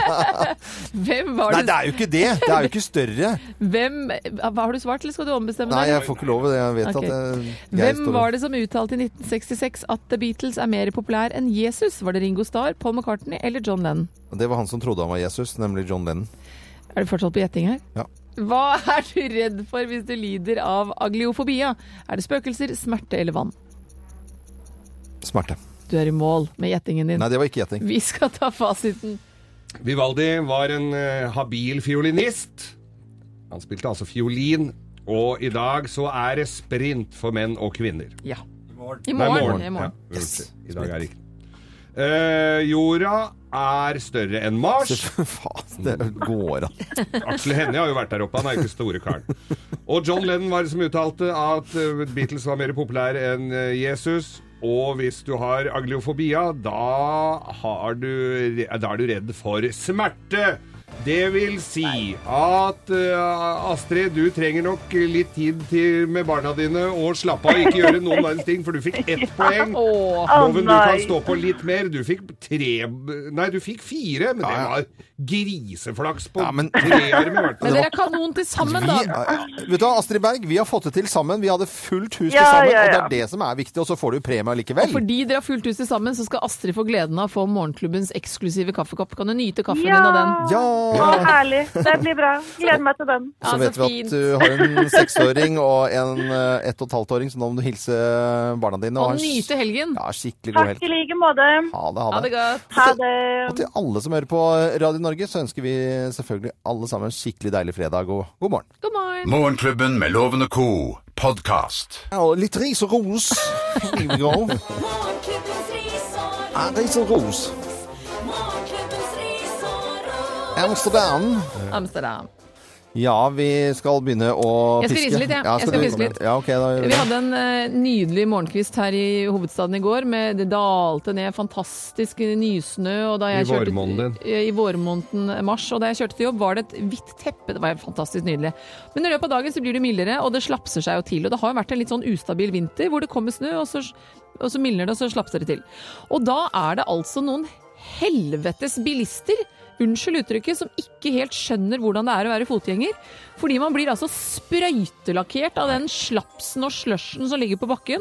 S5: Hvem var
S3: Nei,
S5: det
S3: det er jo ikke det! Det er jo ikke større.
S5: Hvem, hva har du svart, eller skal du ombestemme
S3: Nei,
S5: deg?
S3: jeg får ikke lov til det. Jeg vet
S5: Ok.
S3: at jeg, jeg
S5: Hvem var det som uttalte i 1966 at The Beatles er mer populær enn Jesus? Var det Ringo Starr, Paul McCartney eller John Lennon?
S3: Det var han som trodde han var Jesus, nemlig John Lennon.
S5: Er du fortsatt på gjetting her?
S3: Ja.
S5: Hva er du redd for hvis du lider av agliofobia? Er det spøkelser, smerte eller vann?
S3: Smerte.
S5: Du er i mål med gjettingen din.
S3: Nei, det var ikke gjetting.
S5: Vi skal ta fasiten.
S4: Vivaldi var en eh, habil fiolinist. Han spilte altså fiolin. Og i dag så er det sprint for menn og kvinner.
S5: Ja.
S4: Nei,
S5: I morgen.
S4: morgen.
S5: I morgen.
S4: Ja, unnskyld. I dag er det ikke. Eh, jorda er større enn Mars.
S3: Faen, det går an.
S4: Aksel Hennie har jo vært der oppe, han er jo ikke store karen. Og John Lennon var det som uttalte at eh, Beatles var mer populære enn eh, Jesus. Og hvis du har agliofobia, da, har du, re- da er du redd for smerte. Det vil si at eh, Astrid, du trenger nok litt tid til med barna dine og slappe av. Ikke gjøre noen verdens ting, for du fikk ett poeng.
S5: Åh.
S4: Loven, du kan
S5: Å, nei.
S4: stå på litt mer. Du fikk tre Nei, du fikk fire, men det var griseflaks på tre arm i hvert fall.
S5: Men dere er kanon til sammen,
S3: Vi,
S5: da.
S3: vet du hva, Astrid Berg, vi har fått det til sammen. Vi hadde fullt hus til
S5: Ja,
S3: sammen,
S5: ja,
S3: og det
S5: ja.
S3: er det som er viktig. Og så får du premie
S5: Og
S3: likevel.
S5: fordi dere har fulgt huset sammen, så skal Astrid få gleden av å få morgenklubbens eksklusive kaffekopp. Kan du nyte kaffen din av den?
S3: Ja!
S9: Å, herlig. Det blir bra. Gleder meg til den.
S3: Så vet vi at du har en seksåring og en eh, ett og et halvt åring, så nå må du hilse eh, barna dine.
S5: Og
S3: ha en
S5: nyte helgen.
S3: Ja, skikkelig god
S9: Takk
S3: helg.
S9: i like måte.
S3: Ha det, ha det.
S5: godt.
S9: Ha det.
S3: Og til alle som hører på Radio Norge, så ønsker vi selvfølgelig alle sammen en skikkelig deilig fredag og god morgen.
S5: God morgen.
S2: Morgenklubben med Loven og Co. podkast.
S3: Ja, og litt ris og ros. Here we go. Ja, ris og ros. Amsterdam.
S5: Amsterdam.
S3: Ja, vi skal begynne å
S5: Jeg skal
S3: piske.
S5: rise litt, jeg. Jeg skal
S3: du-
S5: piske litt.
S3: Ja, ok, da gjør vi
S5: Vi
S3: det.
S5: hadde en eh, nydelig morgenkvist her i hovedstaden i går. Med, det dalte ned fantastisk nysnø. Og da jeg
S4: I
S5: kjørte-
S4: vårmåneden.
S5: I vårmåneden eh, mars. Og da jeg kjørte til jobb, var det et hvitt teppe. Det var fantastisk nydelig. Men i løpet av dagen så blir det mildere, og det slapser seg jo til. Og det har jo vært en litt sånn ustabil vinter hvor det kommer snø, og så, og så mildner det, og så slapser det til. Og da er det altså noen helvetes bilister unnskyld uttrykket, som ikke helt skjønner hvordan det er å være fotgjenger. Fordi man blir altså sprøytelakkert av den slapsen og slushen som ligger på bakken.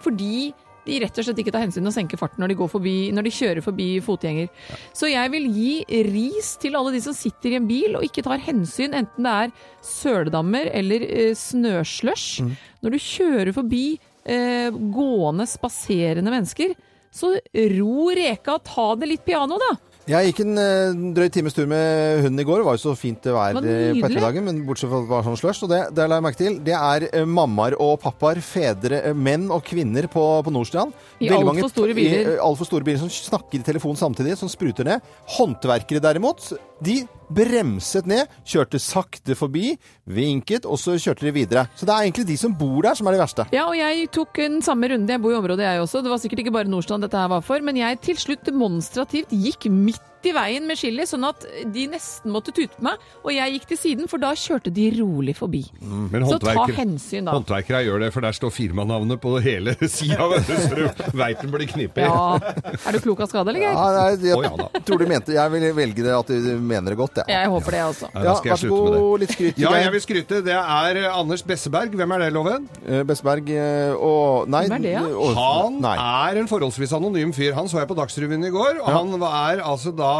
S5: Fordi de rett og slett ikke tar hensyn og senker farten når de, går forbi, når de kjører forbi fotgjenger. Så jeg vil gi ris til alle de som sitter i en bil og ikke tar hensyn, enten det er søledammer eller eh, snøslush. Når du kjører forbi eh, gående, spaserende mennesker, så ro reka, ta det litt piano, da.
S3: Jeg gikk en eh, drøy times tur med hunden i går. Det var jo så fint vær
S5: Var
S3: på
S5: det nydelig?
S3: ettermiddagen, men bortsett fra at det var sånn slush. Og det, det la jeg merke til. Det er eh, mammaer og pappaer, fedre, eh, menn og kvinner på, på Nordstrand.
S5: I
S3: Veldig
S5: alt
S3: mange-
S5: for store biler.
S3: I, eh, alt for store biler som snakker i telefon samtidig, som spruter ned. Håndverkere derimot, de bremset ned, kjørte sakte forbi, vinket, og så kjørte de videre. Så det er egentlig de som bor der, som er de verste.
S5: Ja, og jeg tok den samme runden. Jeg bor i området, jeg også. Det var sikkert ikke bare Nordstrand dette her var for, men jeg til slutt demonstrativt gikk midt i veien med chili, sånn at de nesten måtte tute på meg, og jeg gikk til siden, for da kjørte de rolig forbi.
S3: Mm.
S4: Men
S5: Så ta
S4: håndverkere-
S5: hensyn, da.
S4: Håndverkere gjør det, for der står firmanavnet på hele sida, så du veit den blir knippet.
S5: Ja. Er du klok av skade, eller, Geir?
S3: Ja, nei, jeg
S4: Å, ja da.
S3: tror de mente Jeg vil velge det at de mener det godt, jeg.
S5: Jeg håper det, altså. jeg også.
S4: Nei, da skal jeg slutte med det.
S3: litt skryt.
S4: Ja, jeg vil skryte. Det er eh, Anders Besseberg. Hvem er det, Loven?
S3: Besseberg Eh, og Nei. eh,
S4: Hvem er det, ja?
S3: og-
S4: Han
S3: nei.
S4: er en forholdsvis anonym fyr. Han så jeg på Dagsrevyen i går. Og han er altså da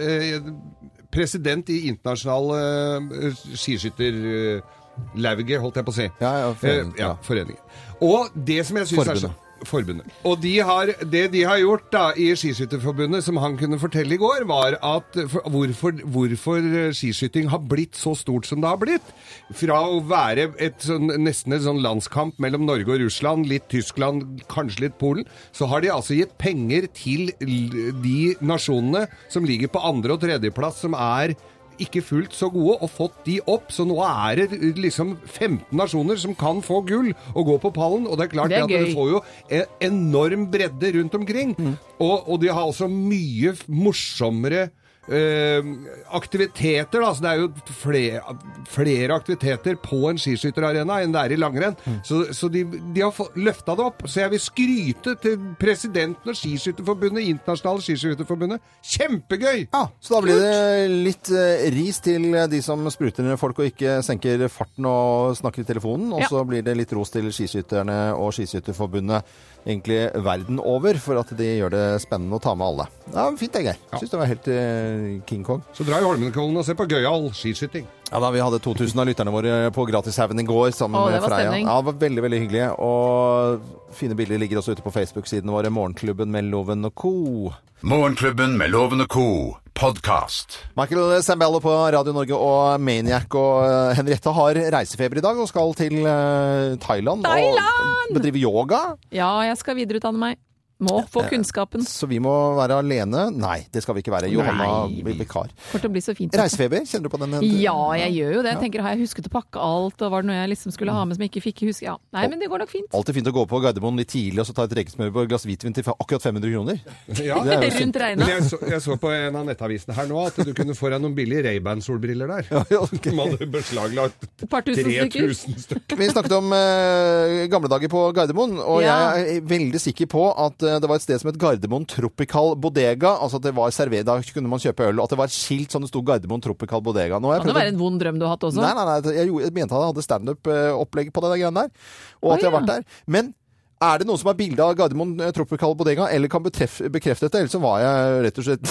S4: eh, president i internasjonale eh, skiskytter... Eh, Lauget, holdt jeg på å si. Ja,
S3: foreningen,
S4: ja, foreningen. Og det som jeg syns er så
S3: Forbundet.
S4: Forbundet. Og de har, det de har gjort da i Skiskytterforbundet, som han kunne fortelle i går, var at for, hvorfor, hvorfor eh, skiskyting har blitt så stort som det har blitt. Fra å være et sånn, nesten et sånn landskamp mellom Norge og Russland, litt Tyskland, kanskje litt Polen, så har de altså gitt penger til l- de nasjonene som ligger på andre- og tredjeplass, som er ikke fullt så gode, og fått de opp. Så nå er det liksom 15 nasjoner som kan få gull og gå på pallen. Og det er klart
S5: Det er
S4: at
S5: gøy.
S4: du får jo en enorm bredde rundt omkring.
S3: Mm.
S4: Og, og de har altså mye f- morsommere eh, aktiviteter, da. Så det er jo flere, flere aktiviteter på en skiskytterarena enn det er i langrenn.
S3: Mm.
S4: Så, så de, de har få- løfta det opp. Så jeg vil skryte til presidenten og Skiskytterforbundet, Internasjonale Skiskytterforbundet. Kjempegøy!
S3: Ja, Så da blir det litt eh, ris til de som spruter ned folk og ikke senker farten og snakker i telefonen. Og
S5: Ja.
S3: så blir det litt ros til skiskytterne og Skiskytterforbundet egentlig verden over for at de gjør det spennende å ta med alle. Ja, men Fint, det, Geir. Syns det var helt eh, King Kong.
S4: Så drar jeg Holmenkollen og ser på gøyal skiskyting.
S3: Ja da, Vi hadde 2000 av lytterne våre på Gratishaugen i går sammen
S4: Å, det
S3: med
S4: var
S3: Freia.
S4: stemning.
S3: Ja, det var Veldig veldig hyggelig. Og fine bilder ligger også ute på Facebook-sidene våre. Morgenklubben med Loven og co.
S2: Morgenklubben med Loven og Co. Podcast.
S3: Michael Sambello på Radio Norge og Maniac og eh, Henriette har reisefeber i dag og skal til eh, Thailand,
S5: Thailand!
S3: og bedrive yoga.
S5: Ja, jeg skal videreutdanne meg. Må få
S3: Eh,
S5: kunnskapen.
S3: Så vi må være alene. Nei, det skal vi ikke være. Johanna blir vikar.
S5: For det blir så fint.
S3: Reisefeber, kjenner du på den?
S5: Ja, jeg gjør jo det. Jeg tenker, har jeg husket å pakke alt, og var det noe jeg liksom skulle ha
S3: Mm.
S5: med som jeg ikke fikk huske? Ja. Nei, men det går nok fint.
S3: Alltid fint å gå på Gardermoen litt tidlig og så ta et rekesmør på et glass hvitvin til akkurat 500 kroner.
S4: Ja.
S3: Det er jo
S5: Rundt
S3: synd.
S5: regnet.
S4: Men jeg så, jeg så på en av nettavisene her nå at du kunne få deg noen billige Ray-Ban-solbriller der. Som hadde beslaglagt
S5: Et par tusen stykker.
S4: 3000 stykker.
S3: Vi snakket om eh, gamle dager på Gardermoen, og
S5: Ja.
S3: jeg er veldig sikker på at eh, det var et sted som het Gardermoen Tropical Bodega. Altså at det var server, da kunne man kjøpe øl, og at det var et skilt sånn det sto Gardermoen Tropical Bodega. Nå har jeg
S5: Kan det
S3: prøvd å-
S5: være en vond drøm du har hatt også?
S3: Nei, nei, nei, jeg, gjorde- jeg mente at jeg hadde standup-opplegg på det der greiene der, og at
S5: Å,
S3: jeg har
S5: ja.
S3: vært der. Men er det noen som har bilde av Gardermoen eh, Tropical Bodega, eller kan betreff, bekrefte dette? Ellers så var jeg rett og slett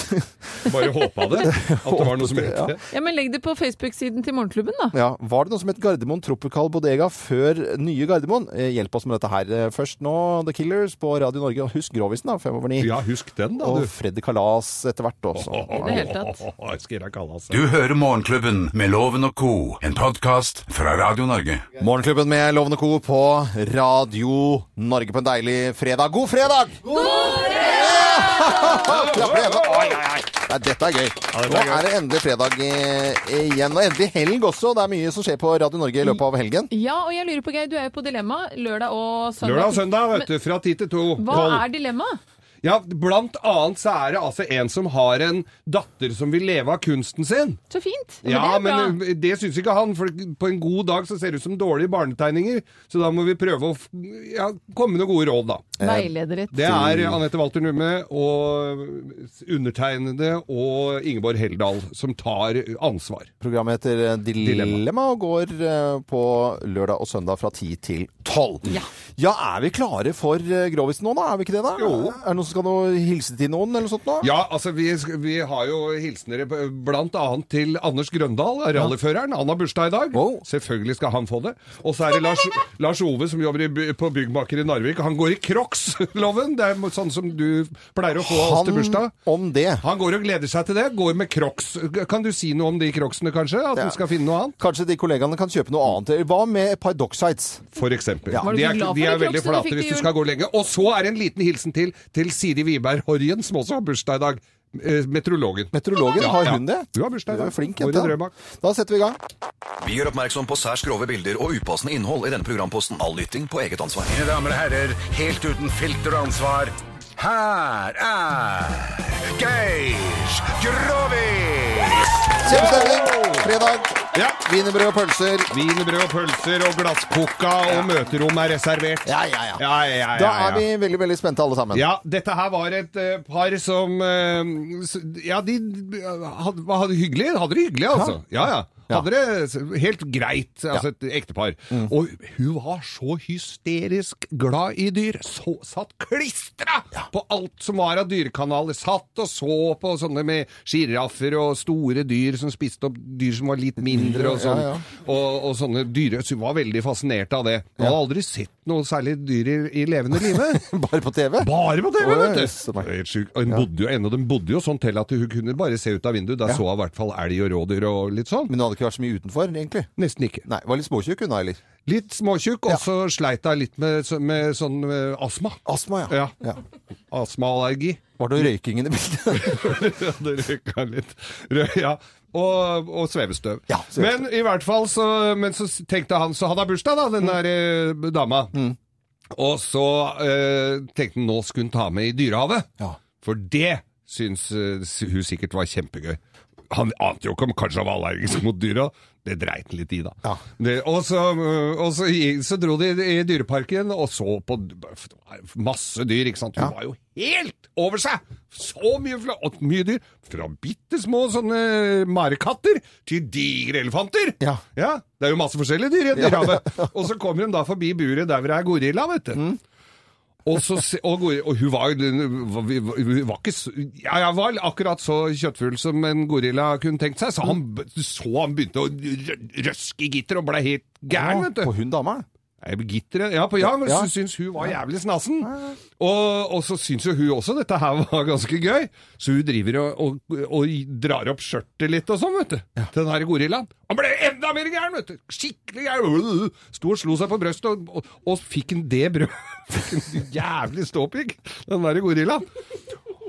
S4: Bare håpa det. At det var noe som het
S3: Ja.
S4: det.
S5: Ja, men legg det på Facebook-siden til Morgenklubben, da.
S3: Ja, Var det noe som het Gardermoen Tropical Bodega før nye Gardermoen? Eh, Hjelp oss med dette her. Eh, Først nå The Killers på Radio Norge. Og husk Grovisen, da. Fem over ni.
S4: Ja, husk den, da,
S3: Og
S4: du.
S3: Freddy Kalas etter hvert også.
S4: Åh, skal jeg kalle altså.
S2: Du hører Morgenklubben med Loven og Co., en podkast fra Radio Norge.
S3: Morgenklubben med Lovende Co. på Radio Norge på en deilig fredag. God fredag! Ja, klapper igjen. Oi, oi, oi. Nei, dette er gøy. Nå
S4: gøy.
S3: er det endelig fredag eh, igjen. Og endelig helg også. Det er mye som skjer på Radio Norge i løpet av helgen.
S5: Ja, og jeg lurer på, Geir, du er jo på Dilemma lørdag og søndag.
S4: Lørdag og søndag, vet du. Fra ti til to.
S5: Men Hva
S4: Tolv.
S5: er dilemma?
S4: Ja, blant annet så er det altså en som har en datter som vil leve av kunsten sin.
S5: Så fint.
S4: Ja,
S5: det er bra.
S4: men uh, det syns ikke han, for på en god dag så ser det ut som dårlige barnetegninger. Så da må vi prøve å f- ja, komme med noen gode råd, da.
S5: Veileder litt.
S4: Det er Anette Walter Numme og undertegnede og Ingeborg Heldal som tar ansvar.
S3: Programmet heter eh, Dilemma, og går eh, på lørdag og søndag fra 10 til 12. Ja, er vi klare for eh, Grovisen nå, da? Er vi ikke det, da? Jo. Er det noen som skal nå hilse til noen, eller noe sånt? nå?
S4: Ja, altså vi, vi har jo hilsener blant annet til Anders Grøndal, rallyføreren. Han har bursdag i dag. Selvfølgelig skal han få det. Og så er det Lars, Lars Ove som jobber i, by- på Byggmaker i Narvik. Han går i Crocs-loven. Det er mo- sånn som du pleier å få av oss til
S3: Han
S4: bursdag.
S3: om det.
S4: Han går og gleder seg til det. Går med Crocs. Kan du si noe om de Crocsene, kanskje? At du skal finne noe annet?
S3: Kanskje de kollegaene kan kjøpe noe annet. Hva med et par docksites?
S4: For eksempel.
S3: Ja.
S4: De er, de er veldig flate hvis du skal gå lenge. Og så er det en liten hilsen til til Siri Wiberg Horjen, som også har bursdag i dag. Eh, Meteorologen.
S3: Meteorologen,
S4: Ja,
S3: har
S4: ja.
S3: hun det?
S4: Hun har bursdag i
S3: Hun
S4: dag.
S3: er flink
S4: Går i
S3: jente.
S4: Drøbak.
S3: Da setter vi i gang.
S14: Vi gjør oppmerksom på særs grove bilder og upassende innhold i denne programposten. All lytting på eget ansvar.
S2: Mine damer og herrer, helt uten filter og ansvar, her er Geir Grovis!
S3: Kjempestemning! Fredag.
S4: Ja.
S3: Wienerbrød og pølser.
S4: Wienerbrød og pølser og glasskoka og møterom er reservert.
S3: Ja, ja, ja.
S4: ja, ja, ja,
S3: Da
S4: ja.
S3: er vi veldig, veldig spente alle sammen.
S4: Ja, dette her var et eh, par som eh, s- Ja, de hadde, hadde hyggelig. Hadde det hyggelig, altså. Ja, ja. Hadde det s- helt greit. Altså et ektepar.
S3: Mm.
S4: Og hun var så hysterisk glad i dyr. Så, satt klistra på alt som var av dyrekanaler. Satt og så på sånne med sjiraffer og store dyr som spiste opp dyr som var litt mindre og sånn.
S3: Ja, ja.
S4: Og, og sånne dyre Så hun var veldig fascinert av det. Hun hadde aldri sett noe særlig dyr i, i levende live.
S3: Bare på TV?
S4: Bare på TV,
S3: Oi,
S4: vet
S3: så
S4: du! Helt sjukt. Og hun bodde jo, en av dem bodde jo sånn til at hun kunne bare se ut av vinduet. Da så hun i hvert fall elg og rådyr og litt sånn.
S3: Men hun hadde ikke vært så mye utenfor, egentlig?
S4: Nesten ikke.
S3: Nei, Var litt småtjukk hun da, eller?
S4: Litt småtjukk, og så sleit hun litt med, så- med sånn eh, astma.
S3: Astma,
S4: ja. Astmaallergi.
S3: Var det røykingen i
S4: bildet? ja, det røyka litt. Røy, ja. Og, og svevestøv. Men i hvert fall så, men så tenkte han Så hadde han bursdag, da, den der eh, dama. Og så eh, tenkte han nå skulle hun ta med i Dyrehavet. For det syns eh, hun sikkert var kjempegøy. Han ante jo ikke om kanskje han var allergisk mot dyra. Det dreit han litt i, da. Det, og så, øh, og så, gi- så dro de i dyreparken og så på d- masse dyr, ikke sant. Hun var jo helt over seg! Så mye, fla- og mye dyr. Fra bitte små sånne marekatter til digre elefanter! Ja. Det er jo masse forskjellige dyr i et
S3: Ja,
S4: dyrehavet. Og så kommer hun da forbi buret der hvor det er gorilla, vet du. Og, så, se- og, gori- og hun var jo hun var ikke så- ja, Jeg var akkurat så kjøttfull som en gorilla kunne tenkt seg, så han, b- så han begynte å rø- røske i gitter og ble helt gæren, vet du.
S3: På hun dama?
S4: Nei, Gitteret Ja, på, ja, men
S3: Ja.
S4: så syns hun var jævlig snassen. Og, og så syns jo hun også dette her var ganske gøy, så hun driver og, og, og drar opp skjørtet litt og sånn, vet du. Til den her gorillaen. Han ble enda mer gæren, vet du! Skikkelig gæren! Sto og slo seg på brystet, og, og, og fikk en det brød. Fikk en jævlig ståpikk, den der gorillaen.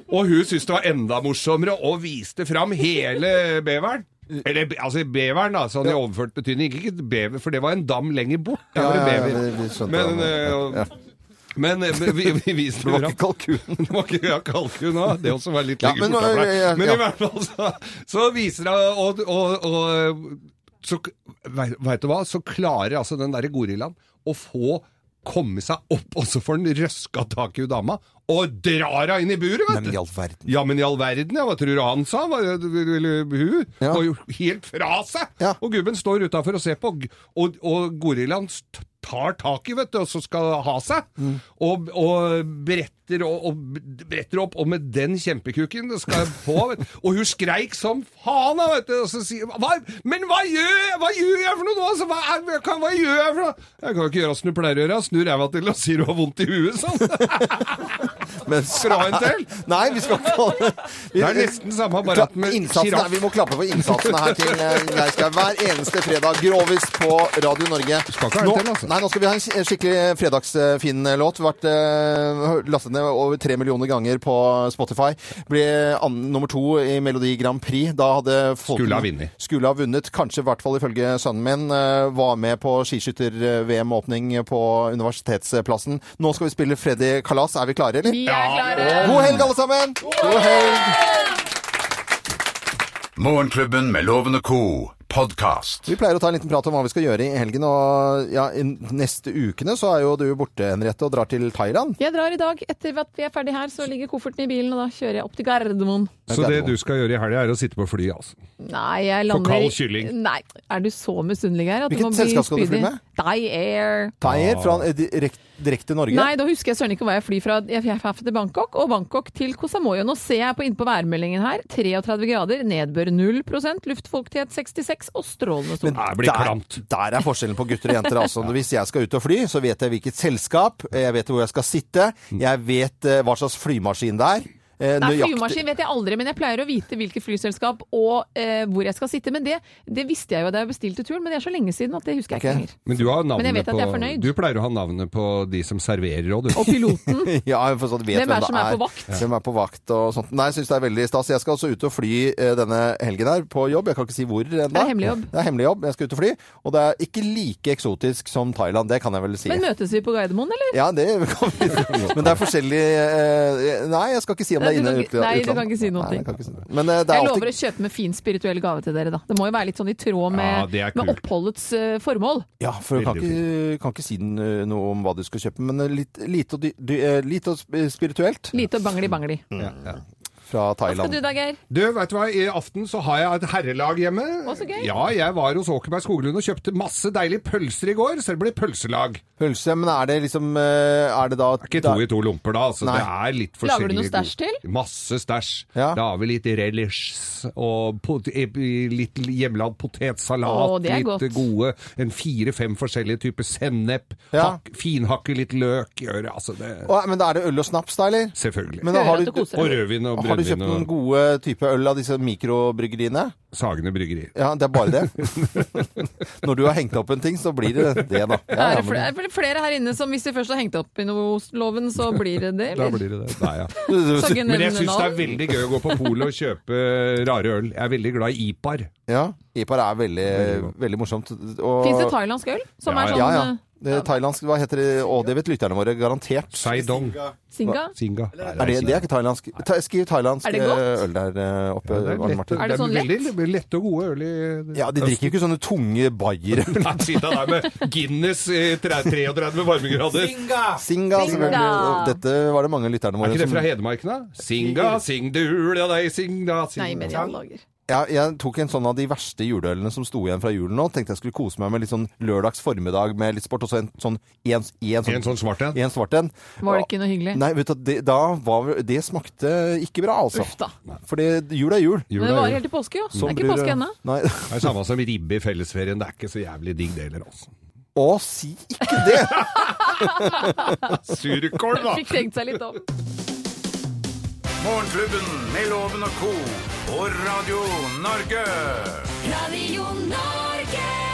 S4: Og hun syntes det var enda morsommere og viste fram hele beveren. Eller, be- altså beveren, da, sånn i overført betydning. Ikke et bever, for det var en dam lenger bort. Der var det bever. Men, eh, men eh, vi, vi viste
S3: Det var
S4: fram-
S3: ikke kalkun.
S4: det var ikke ja, kalkun òg. Det også var litt
S3: Ja,
S4: lenger
S3: men,
S4: borte. for deg.
S3: ja, ja.
S4: Men i hvert fall så, så viser det Og, og, og så, Veit du hva? Så klarer altså den derre gorillaen å få komme seg opp, og så får den røska tak i hun dama, og drar henne inn i buret, vet du!
S3: I all verden.
S4: Ja, men i all verden, ja, hva tror du han sa? Hva, eller hun var jo helt fra seg! Og gubben står utafor og ser på, og, og gorillaen st- tar tak i, vet du, og så skal ha seg.
S3: Mm.
S4: Og, og bretter og, og bretter opp, og med den kjempekuken skal jeg på, vet du. Og hun skreik som faen, da, vet du, og så sier hva, Men hva gjør jeg, hva gjør jeg for noe nå? Altså, hva, er- hva, kan- hva gjør jeg for noe? Jeg kan jo ikke gjøre som du pleier å gjøre, jeg snur ræva til og sier du har vondt i huet, sånn. Fra en til?
S3: Nei, vi skal ikke
S4: Det er nesten samme apparat med
S3: Innsatsen er-
S4: giraff.
S3: Vi må klappe for innsatsen her til eh, Leirskau hver eneste fredag. Grovis på Radio Norge.
S4: ikke ha
S3: nå,
S4: en til, altså.
S3: nei, nå skal vi ha en sk- skikkelig fredagsfin låt. Vært eh, lastet ned over tre millioner ganger på Spotify. Ble an, nummer to i Melodi Grand Prix. Da hadde folk-
S4: Skulle ha vunnet.
S3: Skulle ha vunnet, kanskje i hvert fall ifølge sønnen min. eh, Var med på skiskytter-VM-åpning på Universitetsplassen. Nå skal vi spille Freddy Kalas. Er vi klare, eller?
S5: Vi er
S3: God helg, alle sammen! God helg!
S2: Morgenklubben med Lovende Co. podkast.
S3: Vi pleier å ta en liten prat om hva vi skal gjøre i helgen. Og ja, i neste ukene så er jo du borte, Henriette, og drar til Thailand.
S5: Jeg drar i dag. Etter at vi er ferdig her, så ligger kofferten i bilen, og da kjører jeg opp til Gardermoen.
S4: Så det du skal gjøre i helga, er å sitte på flyet, altså.
S5: Nei, jeg
S4: For
S5: lander
S4: kald kylling.
S5: Nei, er du så misunnelig her? at du
S3: Hvilket
S5: må bli
S3: selskap skal du fly
S5: spydig?
S3: med?
S5: Thai Air.
S3: Thaier fra eh, direkt- direkte til Norge.
S5: Nei, da husker jeg søren ikke hvor jeg flyr fra. Jeg er fra til Bangkok, og Bangkok til Koh Samui. Og Nå ser jeg på innpå værmeldingen her. 33 grader, nedbør 0 luftfuktighet 66 og strålende sol.
S3: der, der er forskjellen på gutter og jenter. Altså. Hvis jeg skal ut og fly, så vet jeg hvilket selskap, eh, jeg vet hvor jeg skal sitte, jeg vet eh, hva slags flymaskin det er. eh,
S5: Nei,
S3: nøyaktig-
S5: flymaskin vet jeg aldri, men jeg pleier å vite hvilket flyselskap og eh, hvor jeg skal sitte. Men det, det visste jeg jo da jeg bestilte turen, men det er så lenge siden at det husker jeg ikke lenger.
S4: Men du, har
S5: Men jeg
S4: navnet
S5: vet at
S4: på,
S5: jeg er fornøyd.
S4: du pleier å ha navnet på de som serverer òg, du.
S5: Og piloten.
S3: ja, for sånn at vet
S5: Hvem er
S3: det
S5: som er på vakt?
S3: Hvem er på vakt og sånt. Nei, jeg syns det er veldig stas. Jeg skal også ut og fly eh, denne helgen her, på jobb. Jeg kan ikke si hvor ennå.
S5: Det er hemmelig jobb.
S3: Det er hemmelig jobb. Jeg skal ut og fly. Og det er ikke like eksotisk som Thailand, det kan jeg vel si.
S5: Men møtes vi på Gardermoen, eller?
S3: ja, det kan vi Men det er forskjellig eh, Nei, jeg skal ikke si om det er
S5: Nei, du
S3: inne
S5: kan
S3: eller
S5: ikke-
S3: utla-
S5: nei,
S3: utland.
S5: du kan ikke si noen ting.
S3: jeg kan ikke si noe. Men eh, det
S5: jeg
S3: er
S5: lover
S3: alltid
S5: å kjøpe med fin spirituell gave til dere, da. Det må jo være litt sånn i tråd
S3: Ja,
S5: med,
S3: det er
S5: med
S3: kult.
S5: oppholdets eh, formål.
S3: ja, for du kan ikke, kan ikke si n- noe om hva du skal kjøpe, men eh, litt, lite, og dy, dy, eh, lite og sp- spirituelt
S5: Lite og bangli-bangli.
S3: fra
S5: Skal
S3: Thailand.
S5: du da, Geir?
S4: Du, vet du hva, i aften så har jeg et herrelag hjemme.
S5: Å, så gøy.
S4: Ja, jeg var hos Åkerberg Skoglund og kjøpte masse deilige pølser i går, så det blir pølselag.
S3: Pølse, men er det liksom eh, Er det da Det er
S4: ikke to i to lomper, da, så det er litt forskjellig.
S5: Lager du noe stæsj til?
S4: Masse stæsj. Da har vi litt relish og pot eh, litt hjemmelagd potetsalat.
S5: Å, det er
S4: litt
S5: godt.
S4: gode en fire-fem forskjellige typer sennep.
S3: Ja.
S4: Hakk, finhakke litt løk. Gjør, altså det
S3: Å, men da er det øl og snaps, da, eller?
S4: Selvfølgelig.
S3: Men da har du,
S4: og rødvin og
S3: har du kjøpt
S4: brennevin
S3: noen
S4: og
S3: gode type øl av disse mikrobryggeriene?
S4: Sagene bryggeri.
S3: Ja, det er bare det. Når du har hengt opp en ting, så blir det det, da. Ja,
S5: er,
S3: ja,
S5: det flere,
S3: men-
S5: er det flere her inne som hvis de først har hengt opp i noe loven, så blir det det?
S4: Da
S5: eller?
S4: blir det det. Nei, ja.
S5: Sagene
S4: Men jeg syns det er
S5: navn.
S4: veldig gøy å gå på polet og kjøpe eh, rare øl. Jeg er veldig glad i IPAR.
S3: Ja, IPAR er veldig, veldig morsomt. Og...
S5: Fins det thailandsk øl som er sånn
S3: Ja, ja.
S5: eh,
S3: Det er Thailandsk, hva heter det? Å, det vet lytterne våre garantert.
S4: Saidong.
S5: Singa?
S4: Singa.
S3: Er det, det er ikke thailandsk. Ta, skriv thailandsk
S5: Er det godt?
S3: eh, øl der eh, oppe.
S4: det er
S3: Arne
S4: lett-
S3: Martin.
S4: Er det sånn lett? veldig lette og gode øl i
S3: Ja, de drikker jo ikke sånne tunge bayer.
S4: Nei, sitte der med Guinness i tre- 33 varmegrader.
S3: Singa, selvfølgelig. Og Dette var det mange av lytterne
S4: Er
S3: våre
S4: ikke det
S3: som-
S4: fra Hedmark, da? Singa, sing du ula deg, sing da, sing
S5: Nei, men i alle dager.
S3: Ja, jeg tok en sånn av de verste juleølene som sto igjen fra julen nå. Tenkte jeg skulle kose meg med litt sånn lørdags formiddag med litt sport, og så en sånn En, en, sånn,
S4: En sånn svart en?
S3: En svart en.
S5: Var det ikke noe hyggelig?
S3: Nei, vet du, det, da var, det smakte ikke bra, altså.
S5: Uff da.
S3: For det- jul er jul.
S5: Men det varer helt til påske, jo. Det
S3: Sånn
S5: er
S3: blir
S5: ikke påske ennå.
S3: Nei.
S4: Det er samme som ribbe i fellesferien. Det er ikke så jævlig digg det heller, altså.
S3: Å, si ikke
S4: det! Surkål, da!
S5: Fikk tenkt seg litt om.
S2: Morgenklubben med Loven og Co. på Radio Norge.
S1: Radio Norge!